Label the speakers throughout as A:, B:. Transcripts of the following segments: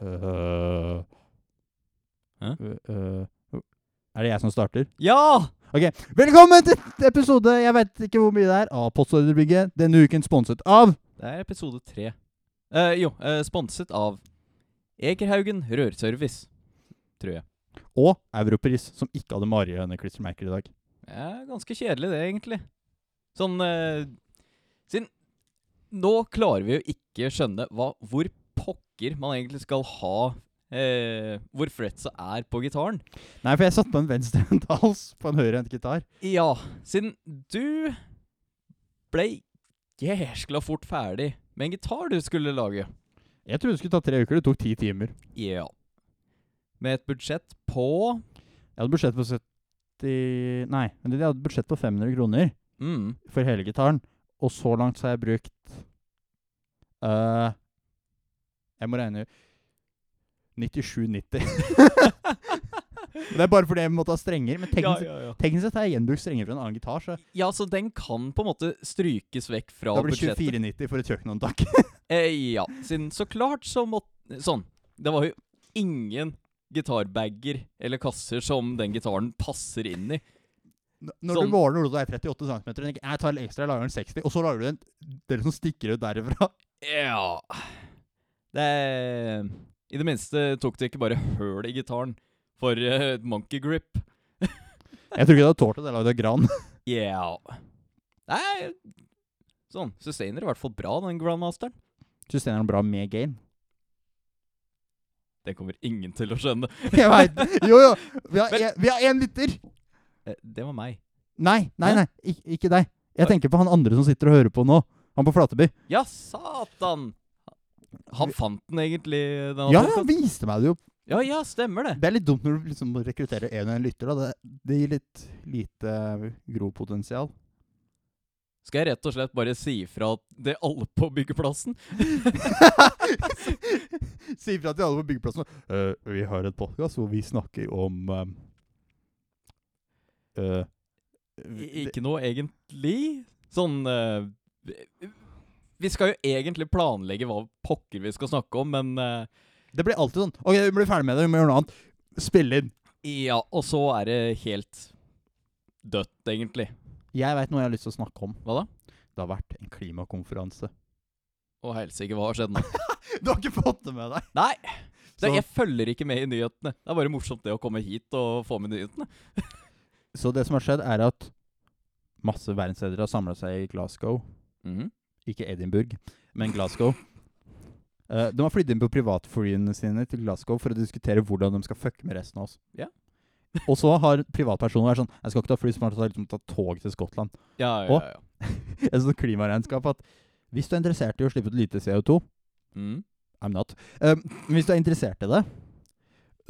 A: Øh,
B: Hæ?
A: øh, øh, er det jeg som starter?
B: Ja!
A: Ok, Velkommen til episode jeg vet ikke hvor mye det er, av Postordrebygget. Denne uken sponset av
B: Det er episode tre. Eh, jo, eh, sponset av Egerhaugen Rørservice, tror jeg.
A: og Europris, som ikke hadde marihøneklistremerker i dag.
B: Det er ganske kjedelig, det, egentlig. Sånn eh, Siden nå klarer vi jo ikke skjønne hva, hvor pokker man egentlig skal ha eh, Hvor fretsa er på gitaren.
A: Nei, for jeg satt på en venstrehendt hals på en høyrehendt gitar.
B: Ja, siden du ble jæskla fort ferdig med en gitar du skulle lage.
A: Jeg trodde det skulle ta tre uker. Det tok ti timer.
B: Ja. Med et budsjett på
A: Jeg hadde budsjett på 70 Nei, men jeg hadde budsjett på 500 kroner
B: mm,
A: for hele gitaren. Og så langt så har jeg brukt eh, Jeg må regne 97,90. det er bare fordi jeg måtte ha strenger. Men teknisk,
B: ja, ja.
A: teknisk sett har jeg gjenbrukt strenger fra en annen gitar. Så
B: ja, så den kan på en måte strykes vekk fra
A: da blir det
B: budsjettet.
A: 24,90 for et kjøkkenhåndtak.
B: Eh, ja, siden så klart så måtte Sånn. Det var jo ingen gitarbager eller kasser som den gitaren passer inn i.
A: N- Når du
B: Sånn.
A: går ned og er 38 cm, tenker jeg jeg tar litt ekstra, jeg lager den 60, og så lager du den dere som stikker ut derifra.
B: Ja Det I det minste tok det ikke bare høl i gitaren for eh, monkey grip.
A: Jeg tror ikke jeg hadde tålt at jeg lagde gran.
B: Ja Nei Sånn. Sustainer i hvert fall bra, den grandmasteren.
A: Syns den er bra med gain.
B: Det kommer ingen til å skjønne.
A: Jeg veit Jo, jo. Vi har
B: Men-
A: en- vi har én lytter.
B: Eh, Det var meg.
A: Nei, nei,
B: Hæ?
A: nei. Ik ikke deg. Jeg tenker på han andre som sitter og hører på nå. Han på Flateby.
B: Ja, satan! Han fant den egentlig, den
A: Ja,
B: andre?
A: han viste meg det jo.
B: ja, ja, stemmer det.
A: Det er litt dumt når du liksom må rekruttere en og en lytter. da. Det, det gir litt lite eh, gropotensial.
B: Skal jeg rett og slett bare si ifra til alle på byggeplassen?
A: Si ifra til alle på byggeplassen. «Øh, vi har et podkast hvor vi snakker om ehm, øh,
B: I- Ikke noe egentlig. Sånn eh, vi- Vi skal jo egentlig planlegge hva pokker vi skal snakke om, men eh,
A: Det blir alltid sånn OK, vi blir ferdig med det, vi må gjøre noe annet. Spille inn.
B: Ja, og så er det helt dødt, egentlig.
A: Jeg veit noe jeg har lyst til å snakke om.
B: Hva da?
A: Det har vært en klimakonferanse.
B: Å helsike, hva har skjedd nå?
A: Du har ikke fått det med deg?
B: Nei! Det,
A: Så,
B: jeg følger ikke med i nyhetene. Det er bare morsomt det å komme hit og få med nyhetene.
A: så det som har skjedd, er at masse verdensledere har samla seg i Glasgow.
B: Mhm.
A: Ikke Edinburgh, men Glasgow. Eh, de har flydd inn på privatflyene sine til Glasgow for å diskutere hvordan de skal fucke med resten av oss.
B: Ja.
A: Og så har privatpersoner vært sånn Jeg skal ikke ta fly, så må jeg ta, liksom, ta tog til Skottland.
B: Ja, ja,
A: Og?
B: ja. ja.
A: Et sånt klimaregnskap at hvis du er interessert i å slippe ut lite CO2
B: Mhm.
A: I'm not. Um, hvis du er interessert i det,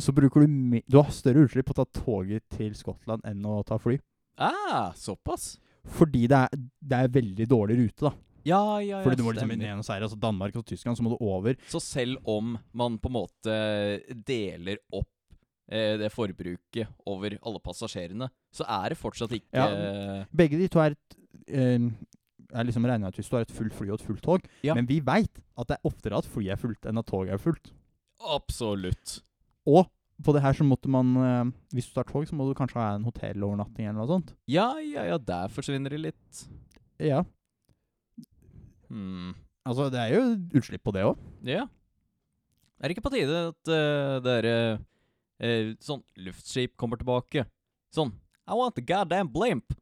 A: så bruker du mi Du har større utslipp på å ta toget til Skottland enn å ta fly.
B: Ah, såpass?
A: Fordi det er, det er veldig dårlig rute, da.
B: Ja, ja, ja.
A: Fordi du må liksom inn
B: stemmer.
A: igjen og seire, altså Danmark og Tyskland, så må du over.
B: Så selv om man på en måte deler opp eh, det forbruket over alle passasjerene, så er det fortsatt ikke
A: Ja.
B: eh,
A: Begge de to er et um, er liksom regna ut hvis du har et fullt fly og et fullt tog.
B: Ja.
A: Men vi veit at det er oftere at flyet er fullt enn at toget er fullt.
B: Absolutt.
A: Og på det her så måtte man eh, Hvis du tar tog, så må du kanskje ha en hotellovernatting eller noe sånt.
B: Ja, ja, ja, der forsvinner det litt.
A: Ja.
B: Hmm.
A: Altså, det er jo utslipp på det òg.
B: Ja. Er det ikke på tide at uh, dere eh, Sånn luftskip kommer tilbake? Sånn I want the goddamn blimp!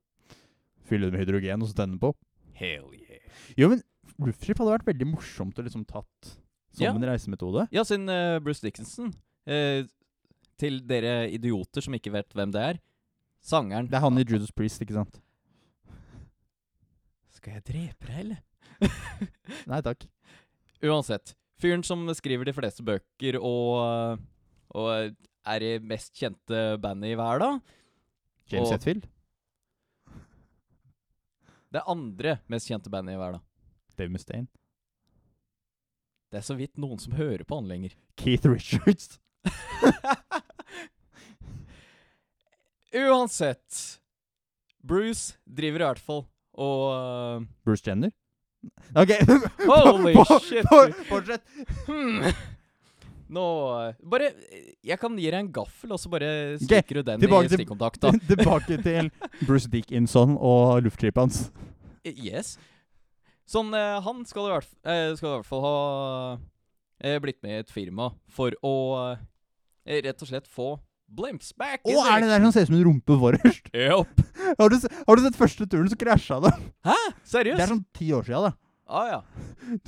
A: Fylle det med hydrogen og så tenne på.
B: Hell yeah.
A: Jo, men luftskip hadde vært veldig morsomt å liksom tatt som
B: Ja.
A: en reisemetode.
B: Ja, siden eh, Bruce Dickinson eh, Til dere idioter som ikke vet hvem det er Sangeren
A: Det er han i Judas Priest, ikke sant?
B: Skal jeg drepe deg, eller?
A: Nei takk.
B: Uansett. Fyren som skriver de fleste bøker og, eh, og er i mest kjente bandet i verden.
A: James
B: Og-
A: Hetfield?
B: Det andre mest kjente bandet i verden.
A: Dave Mustaine?
B: Det er så vidt noen som hører på han lenger.
A: Keith Richards?
B: Uansett. Bruce driver i hvert fall og eh,
A: Bruce Jenner? Ok
B: Holy shit,
A: for-
B: du.
A: Fortsett.
B: hmm. Nå eh, Bare eh, Jeg kan gi deg en gaffel, og så bare
A: Ok,
B: stikker du den
A: tilbake
B: i
A: til-
B: stikkontakt, da.
A: Tilbake til Bruce Dickinson og luftskipet hans.
B: Eh, Yes. Sånn, eh, han skal i hvert, f- eh, skal i hvert fall ha eh, blitt med i et firma for å eh, rett og slett få blimps back
A: Å, er det der som ser ut som en rumpe forrest?
B: Jopp.
A: Har du, se- har du sett første turen, så krasja det. Det
B: Seriøst?
A: er sånn ti år sia, da.
B: Ah, ja.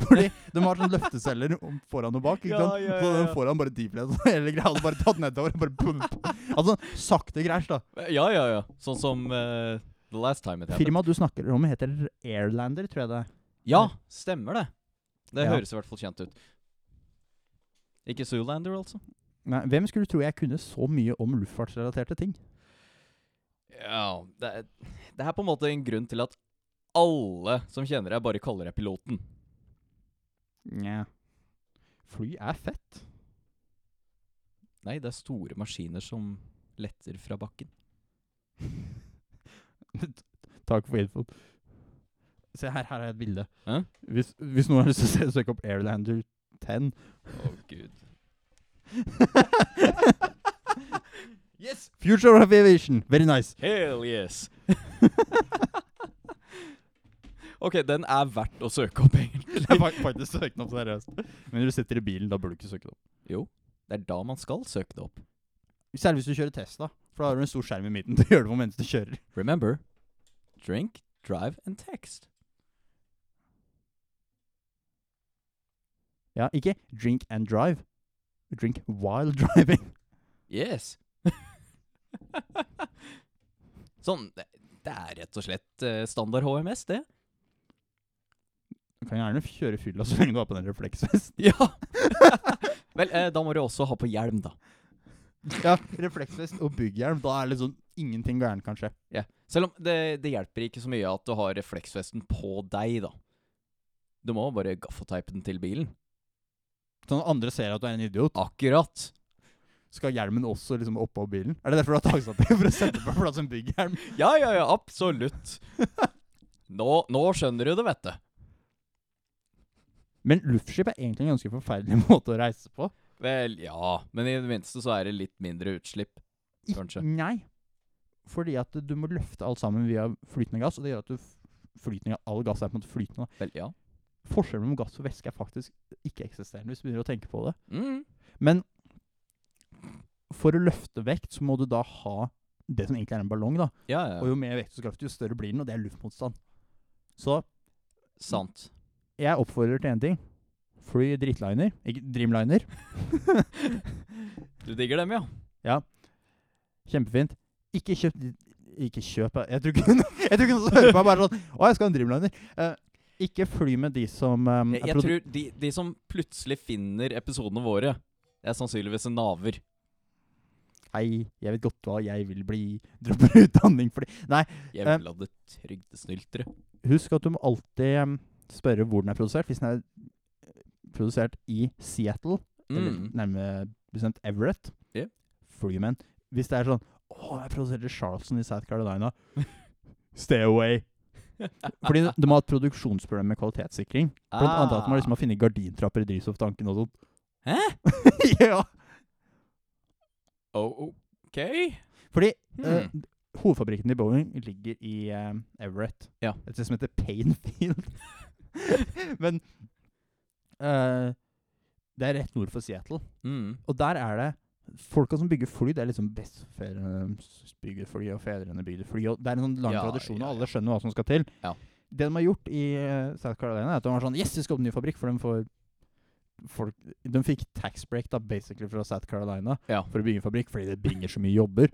A: Fordi de har sånn løfteceller om- foran og bak. Ikke
B: Ja,
A: sant?
B: ja, ja,
A: Så den
B: ja.
A: foran bare deeplet, og hele greia hadde bare tatt nedover. Bare bump. Altså sakte krasj, da.
B: Ja, ja, ja. Sånn som eh, The Last Time It Happened.
A: Firmaet du snakker om, heter Airlander, tror jeg det er.
B: Ja, stemmer det. Det
A: Ja.
B: høres i hvert fall kjent ut. Ikke Zoolander, altså?
A: Nei, hvem skulle tro jeg kunne så mye om luftfartsrelaterte ting?
B: Ja, det er, det er på en måte en grunn til at alle som kjenner deg, bare kaller deg piloten.
A: Nja Fly er fett.
B: Nei, det er store maskiner som letter fra bakken.
A: Takk for infoen. Se her, her har jeg et bilde.
B: Hæ?
A: Hvis, hvis noen har lyst til å se, søk opp Airlander 10.
B: Å, gud. yes!
A: Future of Aviation. Very nice.
B: Hell yes! ok, den er verdt å søke opp, egentlig.
A: Jeg har faktisk søkt den opp seriøst. Men når du sitter i bilen, da burde du ikke søke den opp.
B: Jo, det er da man skal søke det opp.
A: Særlig hvis du kjører Tesla, for da har du en stor skjerm i midten. Det gjør du på mens du kjører.
B: Remember, drink, drive and text.
A: Ja, ikke drink and drive. Drink while driving.
B: Yes. sånn, det, det er rett og slett eh, standard HMS, det.
A: Du kan gjerne kjøre fylla så lenge du har på den refleksvesten.
B: Ja. Vel, eh, da må du også ha på hjelm, da.
A: Ja, refleksvest og bygghjelm. Da er liksom ingenting gærent kan skje.
B: Ja. Selv om det, det hjelper ikke så mye at du har refleksvesten på deg, da. Du må bare gaffateipe den til bilen.
A: Sånn at andre ser at du er en idiot,
B: Akkurat.
A: skal hjelmen også liksom oppå bilen. Er det derfor du har takstativ for å sette på plass en bygghjelm?
B: Ja, ja, ja, absolutt. Nå, nå skjønner du det, vet du.
A: Men luftskip er egentlig en ganske forferdelig måte å reise på.
B: Vel, ja. Men i det minste så er det litt mindre utslipp.
A: I-
B: Kanskje.
A: Nei. Fordi at du må løfte alt sammen via flytende gass, og det gjør at du f- flytende, all gass er på en måte flytende. da.
B: Vel, ja.
A: Forskjellen mellom gass og væske er faktisk ikke-eksisterende, hvis du begynner å tenke på det.
B: Mm.
A: Men for å løfte vekt, så må du da ha det som egentlig er en ballong. da.
B: Ja, ja.
A: Og jo mer vektkraft, jo større blir den, og det er luftmotstand. Så
B: Sant.
A: jeg oppfordrer til én ting. Fly drittliner, ikke dreamliner.
B: Du digger dem, ja?
A: Kjempefint. Ikke kjøp Ikke kjøp ja. Jeg tror ikke hun Jeg tror ikke hun hører meg bare sånn Å, jeg skal ha en Dreamliner. Eh, ikke fly med de som eh,
B: Jeg,
A: er
B: jeg
A: produ-
B: tror de, de som plutselig finner episodene våre, det er sannsynligvis en naver.
A: Hei, jeg vet godt hva jeg vil bli. Dropper utdanning fordi Nei, Eh.
B: Jævla det trygdesnyltere.
A: husk at du må alltid eh, spørre hvor den er produsert. Hvis den er eh, produsert i Seattle, eller
B: Mm.
A: nærmere bestemt Everett,
B: Ja.
A: fly med den. Hvis det er sånn Å, jeg produserte Charleston i South Carolina. Stay away. Fordi de har et produksjonsproblem med kvalitetssikring. Blant annet at man liksom har funnet gardintrapper i drivstofftanken og sånt.
B: Ah. Hæ?
A: ja!
B: Oh, OK.
A: Fordi
B: Hmm.
A: eh, hovedfabrikken til Boeing ligger i eh, Everett.
B: Ja.
A: Et sted som heter Painfield. Men eh, det er rett nord for Seattle.
B: Mm.
A: Og der er det Folka som bygger fly, det er liksom bestefedrene s- bygger fly, og fedrene bygde fly. og Det er en sånn lang
B: Ja,
A: tradisjon,
B: ja,
A: og alle skjønner hva som skal til.
B: Ja.
A: Det de har gjort i eh, South Carolina, er at de var sånn Yes, vi skal åpne en ny fabrikk, for de får folk, De fikk tax break da, basically fra South Carolina
B: Ja.
A: for å bygge en fabrikk, fordi det bringer så mye jobber.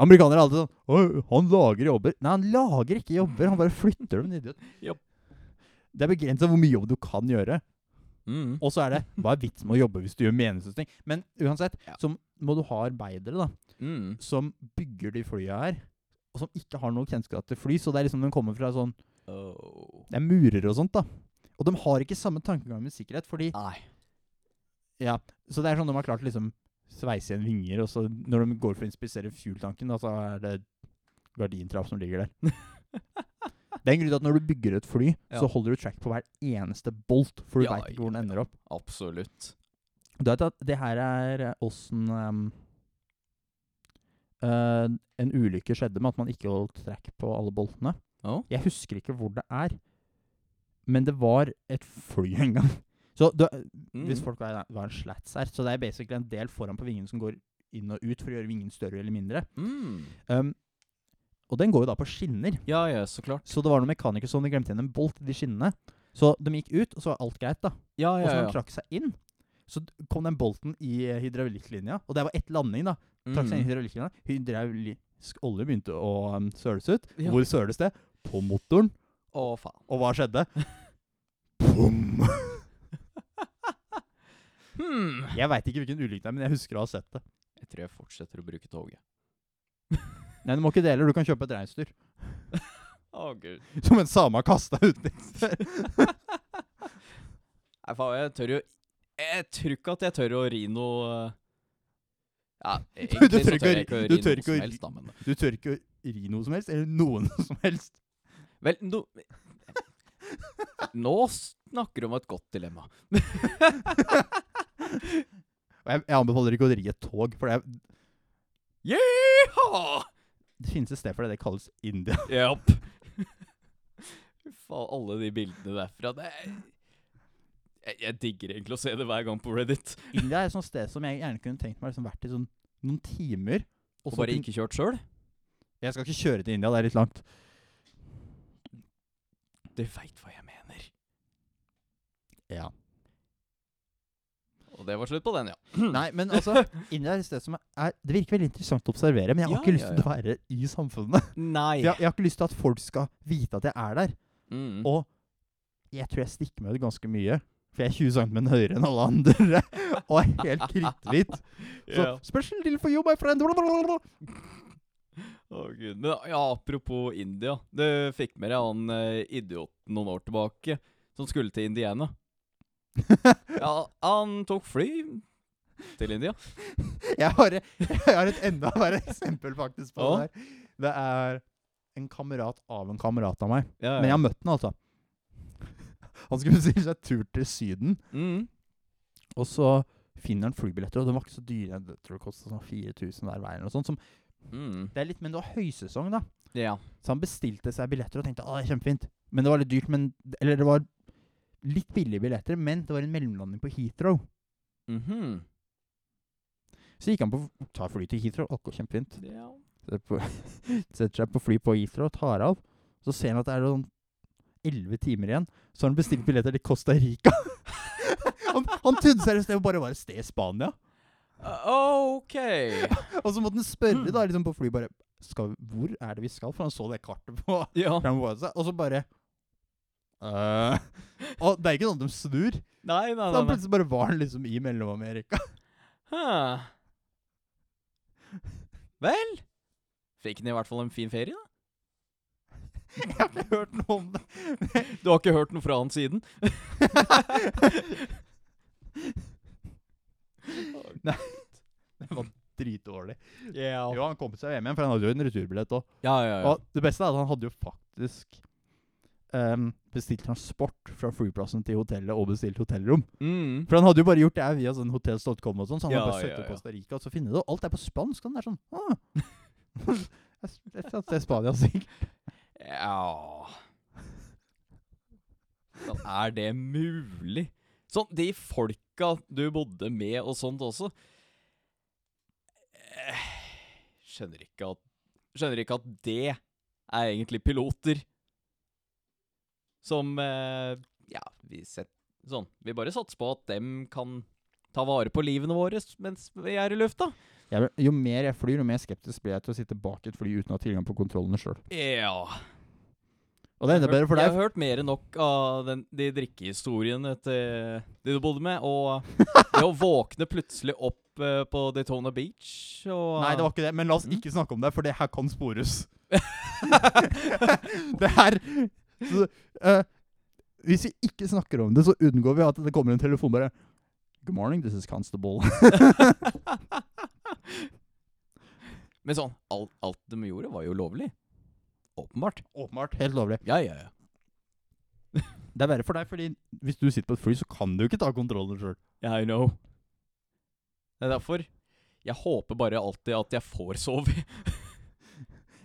A: Amerikanere er alltid sånn «Oi, Han lager jobber. Nei, han lager ikke jobber, han bare flytter dem, en idiot.
B: Japp.
A: Det er begrensa hvor mye jobb du kan gjøre.
B: Mm.
A: Og så er det Hva er vitsen med å jobbe hvis du gjør meningsløse ting? Men uansett,
B: Ja.
A: så må du ha arbeidere da
B: Mm.
A: som bygger de flya her, og som ikke har noe kjennskap til fly. Så det er liksom de kommer fra sånn
B: Oh.
A: Det er murer og sånt, da. Og de har ikke samme tankegang med sikkerhet, fordi
B: Nei.
A: Ja, så det er sånn de har klart å liksom sveise igjen vinger, og så når de går for å inspisere fueltanken, da, så er det gardintrapp som ligger der. Det er en grunn til at når du bygger et fly,
B: Ja.
A: så holder du track på hver eneste bolt, for du
B: Ja,
A: vet ikke hvor den ender opp.
B: Absolutt.
A: Du vet at det her er eh, åssen ehm, eh, en ulykke skjedde med at man ikke holdt track på alle boltene.
B: Ja.
A: Jeg husker ikke hvor det er, men det var et fly en gang. Så du,
B: Mm.
A: hvis folk vet hva en slats er, så det er basically en del foran på vingen som går inn og ut for å gjøre vingen større eller mindre.
B: mm.
A: Um, og den går jo da på skinner.
B: Ja, ja, så klart.
A: Så det var noen mekanikere som de glemte igjen en bolt i de skinnene. Så de gikk ut, og så var alt greit, da.
B: Ja,
A: Og
B: ja,
A: så når de
B: ja.
A: trakk seg inn, så d- kom den bolten i eh, hydraulikklinja. Og det var ett landing, da. Trakk seg inn i
B: Mm.
A: hydraulikklinja. Hydraulisk olje begynte å um, søles ut.
B: Ja.
A: Hvor søles det? På motoren.
B: Å, faen.
A: Og hva skjedde? Pum!
B: Hmm.
A: Jeg veit ikke hvilken ulykke det er, men jeg husker å ha sett det.
B: Jeg tror jeg fortsetter å bruke toget.
A: Nei, du må ikke dele, du kan kjøpe et reinsdyr.
B: Å, gud.
A: Som en same har kasta uti.
B: Nei, faen, jeg tør jo Jeg tror ikke at jeg tør å ri noe Ja, egentlig
A: tør ikke å
B: så tør
A: ri-
B: jeg ikke å
A: du
B: ri
A: tør
B: noe
A: ikke å
B: som
A: ri-
B: helst, da, men
A: Du tør ikke å ri noe som helst, eller noen som helst.
B: Vel, no, nå snakker du om et godt dilemma.
A: Og jeg, jeg anbefaler ikke å ri et tog, for det, er,
B: Yeehaw!
A: det finnes et sted for det. Det kalles India.
B: Jepp. Fy Faen, alle de bildene derfra. Det er, jeg, jeg digger egentlig å se det hver gang på Reddit.
A: India er et sånt sted som jeg gjerne kunne tenkt meg liksom vært i sånn noen timer.
B: Og
A: så
B: bare
A: kun-
B: ikke kjørt sjøl.
A: Jeg skal ikke kjøre til India, det er litt langt.
B: Du veit hva jeg mener.
A: Ja.
B: Og det var slutt på den, ja.
A: Nei, men altså, India er et sted som er Det virker veldig interessant å observere, men jeg har
B: Ja,
A: ikke lyst
B: ja,
A: til å være i samfunnet.
B: Nei.
A: For Jeg, jeg har ikke lyst til at folk skal vite at jeg er der.
B: Mm.
A: Og jeg tror jeg stikker meg ut ganske mye. For jeg er 20 cm høyere enn alle andre og er helt kritthvit. Så
B: Ja.
A: special deal for you, my friend.
B: Å, Gud. Men ja, apropos India. Du fikk med deg han eh, idioten noen år tilbake som skulle til Indiana. Ja, han tok fly til India.
A: Jeg har, jeg har et enda verre eksempel faktisk på det
B: Ja.
A: her. Det er en kamerat av en kamerat av meg.
B: Ja,
A: Men jeg har møtt den, altså. Han skulle bestille seg tur til Syden,
B: mm.
A: og så finner han flybilletter, og de var ikke så dyre. Jeg tror det kostet sånn 4000 hver vei eller noe sånt. Som,
B: Mm.
A: det er litt, men det var høysesong, da.
B: Ja.
A: Så han bestilte seg billetter og tenkte at det er kjempefint. Men det var litt dyrt, men Eller det var litt billige billetter, men det var en mellomlanding på Heathrow.
B: Mhm.
A: Så gikk han på ta fly til Heathrow. Å, kjempefint.
B: ja.
A: setter, på, setter seg på fly på Heathrow og tar av. Så ser han at det er sånn 11 timer igjen. Så har han bestilt billetter til Costa Rica. han, han trodde seriøst det bare var et sted i Spania.
B: Uh, OK.
A: Og så måtte han spørre da, liksom på fly bare skal, vi- Hvor er det vi skal? For han så det kartet på
B: Ja.
A: på mobilen sin, Og så bare «Øh». Og det er ikke sånn at de snur.
B: Nei,
A: Så
B: nei, nei.
A: han
B: nei.
A: Sånn plutselig bare var han liksom i Mellom-Amerika.
B: Hæ. Vel Fikk han i hvert fall en fin ferie, da?
A: Jeg har ikke hørt noe om det.
B: Du har ikke hørt noe fra han siden?
A: Det var dritdårlig.
B: Ja.
A: Jo, han kom seg hjem igjen, for han hadde jo en returbillett òg.
B: Ja, ja, ja.
A: Og det beste er at han hadde jo faktisk ehm, bestilt transport fra flyplassen til hotellet og bestilt hotellrom.
B: Mm.
A: For han hadde jo bare gjort det her via sånn hotels.com og sånn, så han
B: Ja,
A: hadde bare søkt
B: ja,
A: opp
B: ja.
A: Costa Rica og så finne det. Og alt er på spansk. og Den er sånn ah. Jeg s- jeg tror at det er Spania, altså. sikkert.
B: Ja Sånn, Er det mulig? Sånn, de folka du bodde med og sånt også eh, Skjønner ikke at Skjønner ikke at det er egentlig piloter som eh, Ja, vi set, sånn, vi bare satser på at dem kan ta vare på livene våre mens vi er i lufta.
A: Jeg, blir- jo mer jeg flyr, jo mer skeptisk blir jeg til å sitte bak et fly uten å ha tilgang på kontrollene sjøl.
B: Ja.
A: Og det er enda bedre for
B: Jeg
A: deg.
B: har hørt mer enn nok av den, de drikkehistoriene til de du bodde med, og det å våkne plutselig opp eh, på Daytona Beach og
A: Nei, det var ikke det. Men la oss
B: Mm.
A: ikke snakke om det, for det her kan spores. det her så, eh, Hvis vi ikke snakker om det, så unngår vi at det kommer en telefon bare Good morning, this is Constable.
B: Men sånn, alt, alt de gjorde, var jo lovlig. Åpenbart.
A: Åpenbart. Helt lovlig.
B: Ja, ja, ja.
A: Det er verre for deg, fordi hvis du sitter på et fly, så kan du ikke ta kontrollen sjøl.
B: Yeah, I know. Det er derfor jeg håper bare alltid at jeg får sove.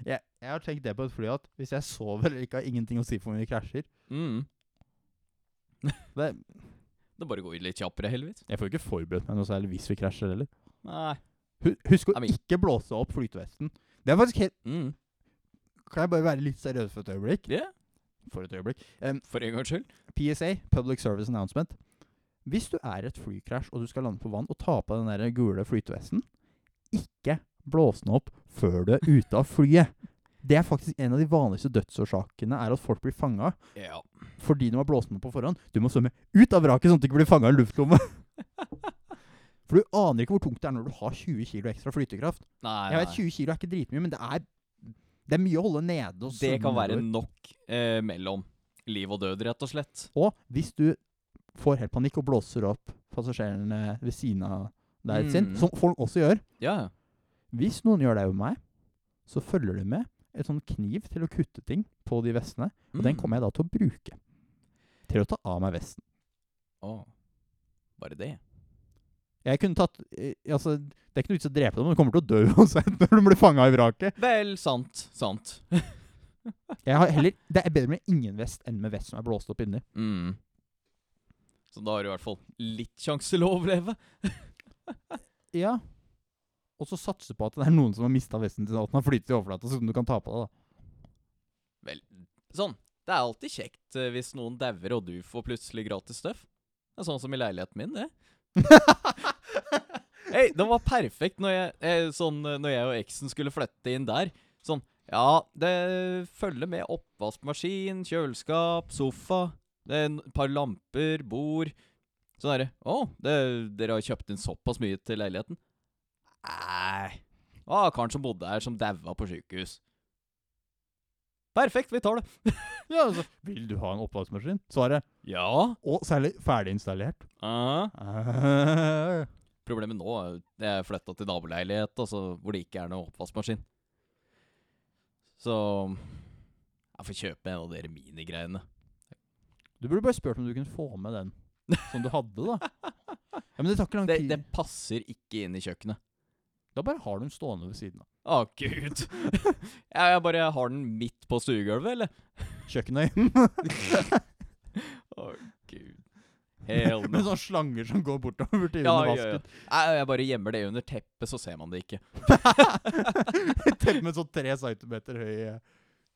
A: Jeg, jeg har tenkt det på et fly at hvis jeg sover eller ikke har ingenting å si for om vi krasjer
B: Mm.
A: det,
B: Det bare går litt kjappere, heldigvis.
A: Jeg får jo ikke forberedt meg noe særlig hvis vi krasjer heller.
B: Nei.
A: Hu- Husk å
B: Nei, men-
A: ikke blåse opp flytevesten. Det er faktisk helt
B: Mm.
A: Kan jeg bare være litt seriøs for et øyeblikk?
B: Ja.
A: For et øyeblikk. Em,
B: For en gangs skyld.
A: PSA, Public Service Announcement. Hvis du er i et flykrasj og du skal lande på vann og ta på den der gule flytevesten, ikke blås den opp før du er ute av flyet. Det er faktisk en av de vanligste dødsårsakene er at folk blir fanga
B: Ja.
A: fordi de har blåst den opp på forhånd. Du må svømme ut av vraket sånn at du ikke blir fanga i en luftlomme. For du aner ikke hvor tungt det er når du har 20 kg ekstra flytekraft.
B: Nei,
A: Jeg vet
B: nei.
A: 20 kilo er ikke dritmye, men det er, det er mye å holde nede. Og
B: Det kan
A: svømme
B: være
A: nedover.
B: nok eh, mellom liv og død, rett og slett.
A: Og hvis du får helt panikk og blåser opp passasjerene ved siden av deg sin,
B: Mm.
A: som folk også gjør
B: Ja, ja.
A: Hvis noen gjør det med meg, så følger det med et sånn kniv til å kutte ting på de vestene. Og den
B: Mm.
A: kommer jeg da til å bruke til å ta av meg vesten.
B: Å. Bare det.
A: Jeg kunne tatt eh, Altså, det er ikke noe vits i å drepe dem, men du kommer til å dø uansett når du blir fanga i vraket.
B: Vel, sant. Sant.
A: Jeg har heller, det er bedre med ingen vest enn med vest som er blåst opp inni.
B: Mm. Så da har du i hvert fall litt sjanse til å overleve.
A: Ja. Og så satse på at det er noen som har mista vesten sin, og at den har flyttet i overflata, så du kan ta på deg, da.
B: Vel, sånn. Det er alltid kjekt eh, hvis noen dauer og du får plutselig gratis støff. Det er sånn som i leiligheten min, det. Hei, den var perfekt når jeg, eh, sånn, eh, når jeg og eksen skulle flytte inn der. Sånn, ja, det følger med oppvaskmaskin, kjøleskap, sofa, det er et par lamper, bord. Sånn derre Å, det- dere har kjøpt inn såpass mye til leiligheten? Nei. Det var karen som bodde her, som daua på sykehus. Perfekt, vi tar det.
A: Ja, altså, Vil du ha en oppvaskmaskin? Svaret
B: Ja.
A: Og særlig ferdig installert.
B: Ah.
A: Eh,
B: Problemet nå er jo at jeg flytta til naboleilighet, altså, hvor det ikke er noe oppvaskmaskin. Så jeg får kjøpe en av dere minigreiene.
A: Du burde bare spurt om du kunne få med den som du hadde, da. Ja, Men det tar ikke lang
B: Det,
A: tid.
B: det passer ikke inn i kjøkkenet.
A: Da bare har du den stående ved siden av.
B: Å, gud. Jeg, jeg bare har den midt på stuegulvet, eller?
A: Kjøkkenøy.
B: Å, gud. Hell
A: Med
B: no.
A: sånne slanger som går bortover til
B: Ja,
A: under
B: ja, ja.
A: vasken.
B: Jeg, jeg bare gjemmer det under teppet, så ser man det ikke.
A: Telt med sånn tre centimeter høy eh,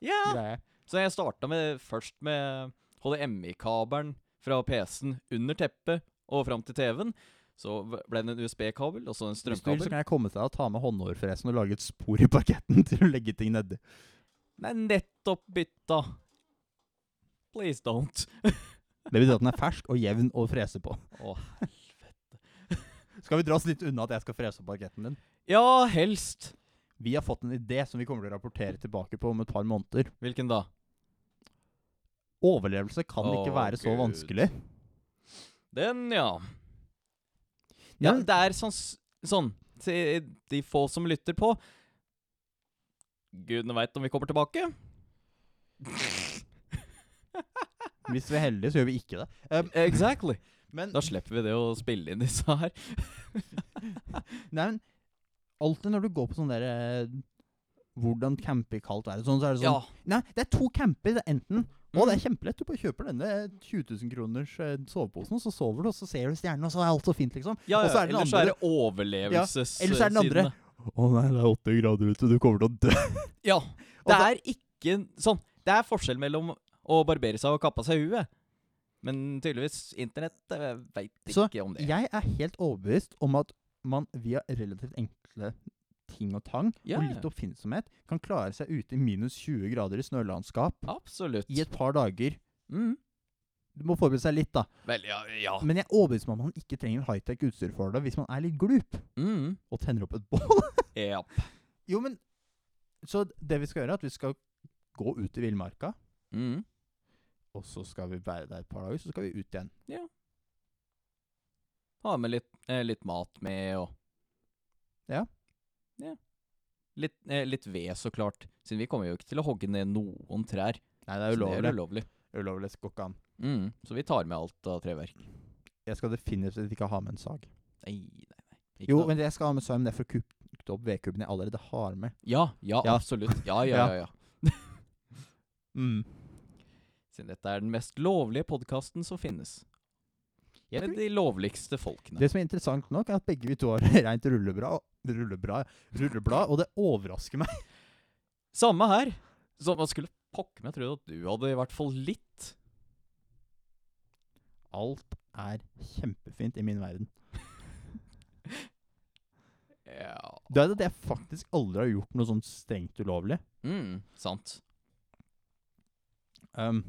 B: Ja.
A: greie.
B: Så jeg starta med, først med HDMI-kabelen fra PC-en under teppet og fram til TV-en. Så v- ble det en USB-kabel og så en
A: Hvis du vil, så
B: strømkabel.
A: kan jeg komme til deg og ta med håndhårfresen og lage et spor i parketten til å legge ting nedi.
B: Nei, nettopp bytta. Please don't.
A: Det betyr at den er fersk og jevn å frese på.
B: Åh.
A: Skal vi dra oss litt unna at jeg skal frese opp parketten din?
B: Ja, helst.
A: Vi har fått en idé som vi kommer til å rapportere tilbake på om et par måneder.
B: Hvilken da?
A: Overlevelse kan
B: Å,
A: ikke være så
B: Gud.
A: vanskelig.
B: Den, ja. ja
A: Men
B: det er sånn, s- sånn til de få som lytter på Gudene veit om vi kommer tilbake.
A: hvis vi er heldige, så gjør vi ikke det. Um,
B: Exactly.
A: men,
B: Da slipper vi det å spille inn disse her.
A: nei, men alltid når du går på sånn der eh, Hvordan campe i kaldt vær og sånn, så er det sånn
B: Ja.
A: Nei, det er to camper. Det er enten Å, det er kjempelett. Du bare kjøper denne 20 000 kroners eh, soveposen, og så sover du, og så ser du stjernen, og så er alt så fint, liksom.
B: Ja,
A: Og
B: ja.
A: så er det den
B: ellers så er det overlevelses...
A: Eller så er den andre
B: sidene.
A: Å nei, det er åtte grader ute, du kommer til å dø.
B: Ja.
A: Og
B: Det
A: så-
B: er ikke sånn Det er forskjell mellom å barbere seg og kappe seg huet. Men tydeligvis Internett veit ikke
A: Så
B: om det.
A: Jeg er helt overbevist om at man via relativt enkle ting og tang
B: Ja,
A: og
B: ja.
A: litt oppfinnsomhet kan klare seg ute i minus 20 grader i snølandskap
B: Absolutt.
A: i et par dager.
B: Mm.
A: Du må forberede seg litt, da.
B: Vel, ja, ja.
A: Men jeg er overbevist om at man ikke trenger high-tech utstyr for det hvis man er litt glup
B: Mm.
A: og tenner opp et bål.
B: ja.
A: jo, men Så det vi skal gjøre, er at vi skal gå ut i villmarka,
B: Mm.
A: og så skal vi være der et par dager, så skal vi ut igjen.
B: Ha med litt, eh, litt mat med og
A: Ja.
B: Ja. Litt, eh, litt ved, så klart. Siden vi kommer jo ikke til å hogge ned noen trær.
A: Nei, det er
B: så Det
A: ulovlig.
B: er ulovlig.
A: Ulovlig skal ikke an.
B: Mm. Så vi tar med alt av treverk.
A: Jeg skal definitivt ikke ha med en sag.
B: Nei, nei, nei. Ikke
A: Jo,
B: noe-
A: men jeg skal ha med Simon derfor kuppet opp vedkubben jeg allerede har med.
B: ja, ja,
A: Ja.
B: absolutt. Ja, ja,
A: Ja.
B: ja. ja. Siden dette er den mest lovlige podkasten som finnes.
A: Jeg
B: Med
A: tror-
B: de lovligste folkene.
A: Det som er interessant nok, er at begge vi to har rent rullebra, rullebra, rulleblad, og det overrasker meg.
B: Samme her. Så man skulle pokker meg trodd at du hadde i hvert fall litt.
A: Alt er kjempefint i min verden.
B: Ja.
A: Det er at jeg faktisk aldri har gjort noe sånn strengt ulovlig.
B: Mm, sant.
A: Um,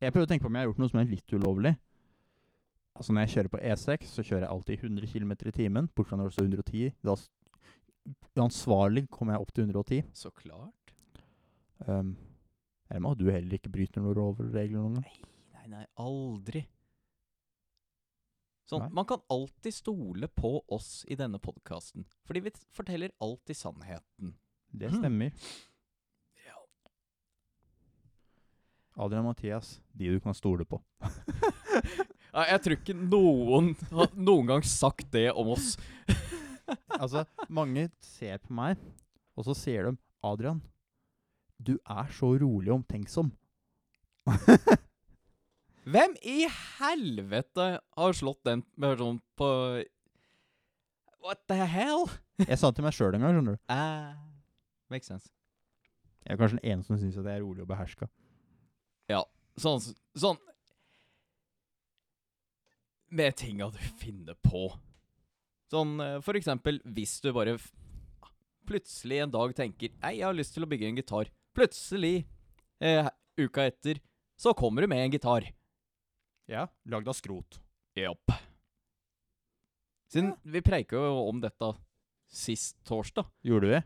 A: jeg prøver å tenke på om jeg har gjort noe som er litt ulovlig. Altså Når jeg kjører på E6, så kjører jeg alltid 100 km i timen. Bortsett fra når det står 110. Da s- uansvarlig kommer jeg opp til 110.
B: Så klart.
A: Um, jeg må ha du heller ikke bryter noen lovregler noen gang.
B: Nei, nei, aldri. Sånn,
A: Nei.
B: Man kan alltid stole på oss i denne podkasten, fordi vi t- forteller alltid sannheten.
A: Det
B: Hmm.
A: stemmer.
B: Ja.
A: Adrian og Mathias, de du kan stole på.
B: Nei, jeg tror ikke noen har noen gang sagt det om oss.
A: Altså, mange ser på meg, og så sier de Adrian, du er så rolig og omtenksom.
B: Hvem i helvete har slått den personen på What the hell?
A: Jeg sa det til meg sjøl en gang, skjønner du.
B: Eh, makes sense.
A: Jeg er kanskje den eneste som syns at jeg er rolig og beherska.
B: Sånn, s- sånn Med tinga du finner på. Sånn eh, for eksempel hvis du bare f- plutselig en dag tenker Nei, jeg har lyst til å bygge en gitar. Plutselig, eh, uka etter, så kommer du med en gitar.
A: Ja, lagd av skrot.
B: Jopp. Siden vi preika jo om dette sist torsdag.
A: Gjorde du det?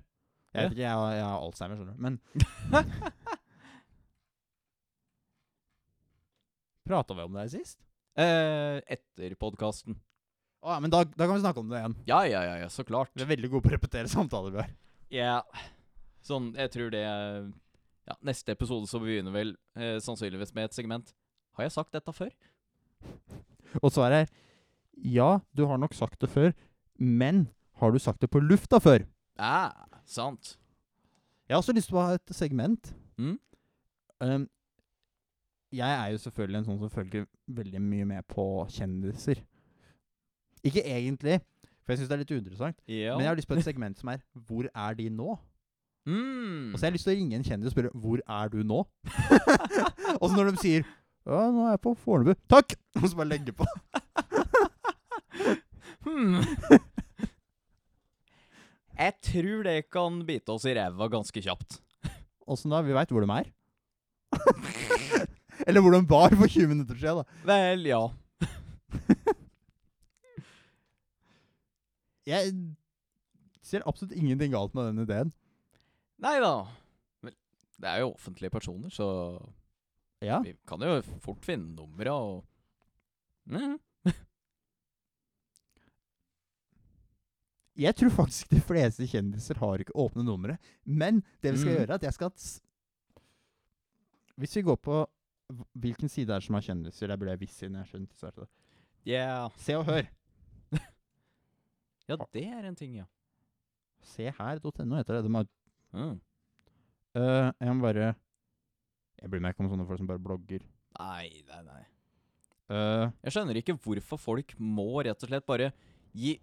A: Jeg
B: Ja.
A: vet ikke, jeg har, jeg har alzheimer, skjønner du. Men Prata vi om det her sist?
B: eh, etter podkasten.
A: Å ja, men da, da kan vi snakke om det igjen.
B: Ja, ja, ja, ja, så klart.
A: Vi er veldig gode på å repetere samtaler vi har.
B: Ja. Sånn, jeg tror det er- Ja, neste episode så begynner vel eh, sannsynligvis med et segment. Har jeg sagt dette før?
A: Og svaret er ja, du har nok sagt det før, men har du sagt det på lufta før?
B: Ja, sant.
A: Jeg har også lyst til å ha et segment.
B: Mm.
A: Um, jeg er jo selvfølgelig en sånn som følger veldig mye med på kjendiser. Ikke egentlig, for jeg syns det er litt uinteressant.
B: Ja.
A: Men jeg har lyst på et segment som er 'Hvor er de nå?'
B: mm.
A: Og så har jeg lyst til å ringe en kjendis og spørre 'Hvor er du nå?' og så når de sier 'Ja, nå er jeg på Fornebu'. Takk! Og så bare legge på.
B: Hmm. Jeg tror det kan bite oss i ræva ganske kjapt.
A: Åssen da? Vi veit hvor de er. Eller hvor de var for 20 minutter siden, da.
B: Vel, ja.
A: Jeg ser absolutt ingenting galt med den ideen.
B: Nei da. Vel, det er jo offentlige personer, så
A: Ja.
B: vi kan jo fort finne numra og mm.
A: Jeg tror faktisk de fleste kjendiser har ikke åpne numre. Men det vi skal
B: Mm.
A: gjøre, er at jeg skal s- Hvis vi går på hv- Hvilken side er det som har kjendiser? Det burde jeg visst siden jeg skjønte startet.
B: Yeah.
A: Se og hør.
B: Ja, det er en ting, ja.
A: Se her.no heter det. De har,
B: Mm.
A: øh, jeg må bare Jeg bryr meg ikke om sånne folk som bare blogger.
B: Nei, nei, nei.
A: Øh,
B: Jeg skjønner ikke hvorfor folk må rett og slett bare gi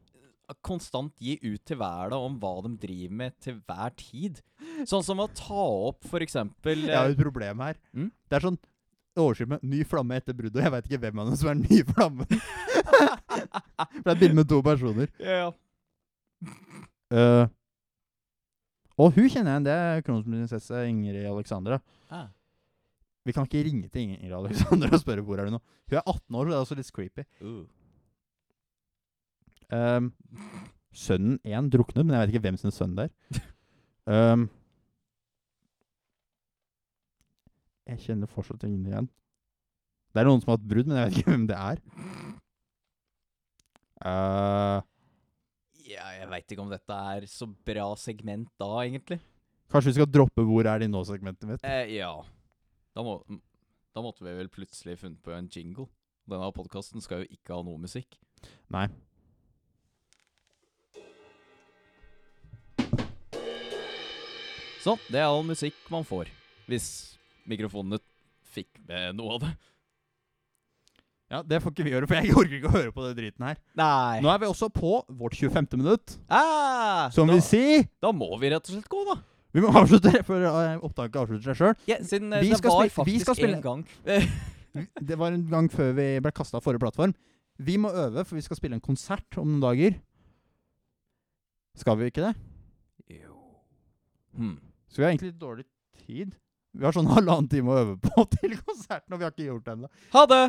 B: Konstant gi ut til verden om hva de driver med til hver tid. Sånn som å ta opp for eksempel
A: Jeg har jo et
B: eh,
A: problem her.
B: Mm?
A: Det er sånn overskrift med 'ny flamme etter bruddet', og jeg veit ikke hvem av dem som er den nye flammen. For det er et bilde med to personer.
B: ja,
A: Eh, og hun kjenner jeg igjen. Det er kronprinsesse Ingrid Alexandra.
B: Ah.
A: Vi kan ikke ringe til Ingrid Alexandra og spørre hvor er hun nå. Hun er 18 år, så det er også litt creepy.
B: Uh.
A: Ehm, sønnen én druknet, men jeg vet ikke hvem sin sønn det er. Ehm, jeg kjenner fortsatt ingen igjen. Det er noen som har hatt brudd, men jeg vet ikke hvem det er. Eh,
B: Ja, jeg veit ikke om dette er så bra segment da, egentlig.
A: kanskje vi skal droppe 'Hvor er de nå?'-segmentet mitt.
B: Eh, ja. Da, må, da måtte vi vel plutselig funnet på en jingle. Denne podkasten skal jo ikke ha noe musikk.
A: Nei.
B: Sånn, det er all musikk man får. Hvis mikrofonene fikk med noe av det.
A: Ja, Det får ikke vi gjøre, for jeg orker ikke å høre på den driten her.
B: Nei.
A: Nå er vi også på vårt 25. minutt.
B: Ah,
A: Som
B: da,
A: vil si
B: da må vi rett og slett gå, da.
A: Vi må avslutte før eh, opptaket avslutter seg sjøl.
B: Ja, siden eh,
A: Vi
B: det
A: skal
B: var
A: spille-
B: faktisk
A: vi skal spille-
B: en gang.
A: Det var en gang før vi ble kasta av forrige plattform. Vi må øve, for vi skal spille en konsert om noen dager. Skal vi ikke det?
B: Hmm.
A: Så vi har egentlig litt dårlig tid. Vi har sånn halvannen time å øve på til konserten, og vi har ikke gjort det ennå.
B: Ha det!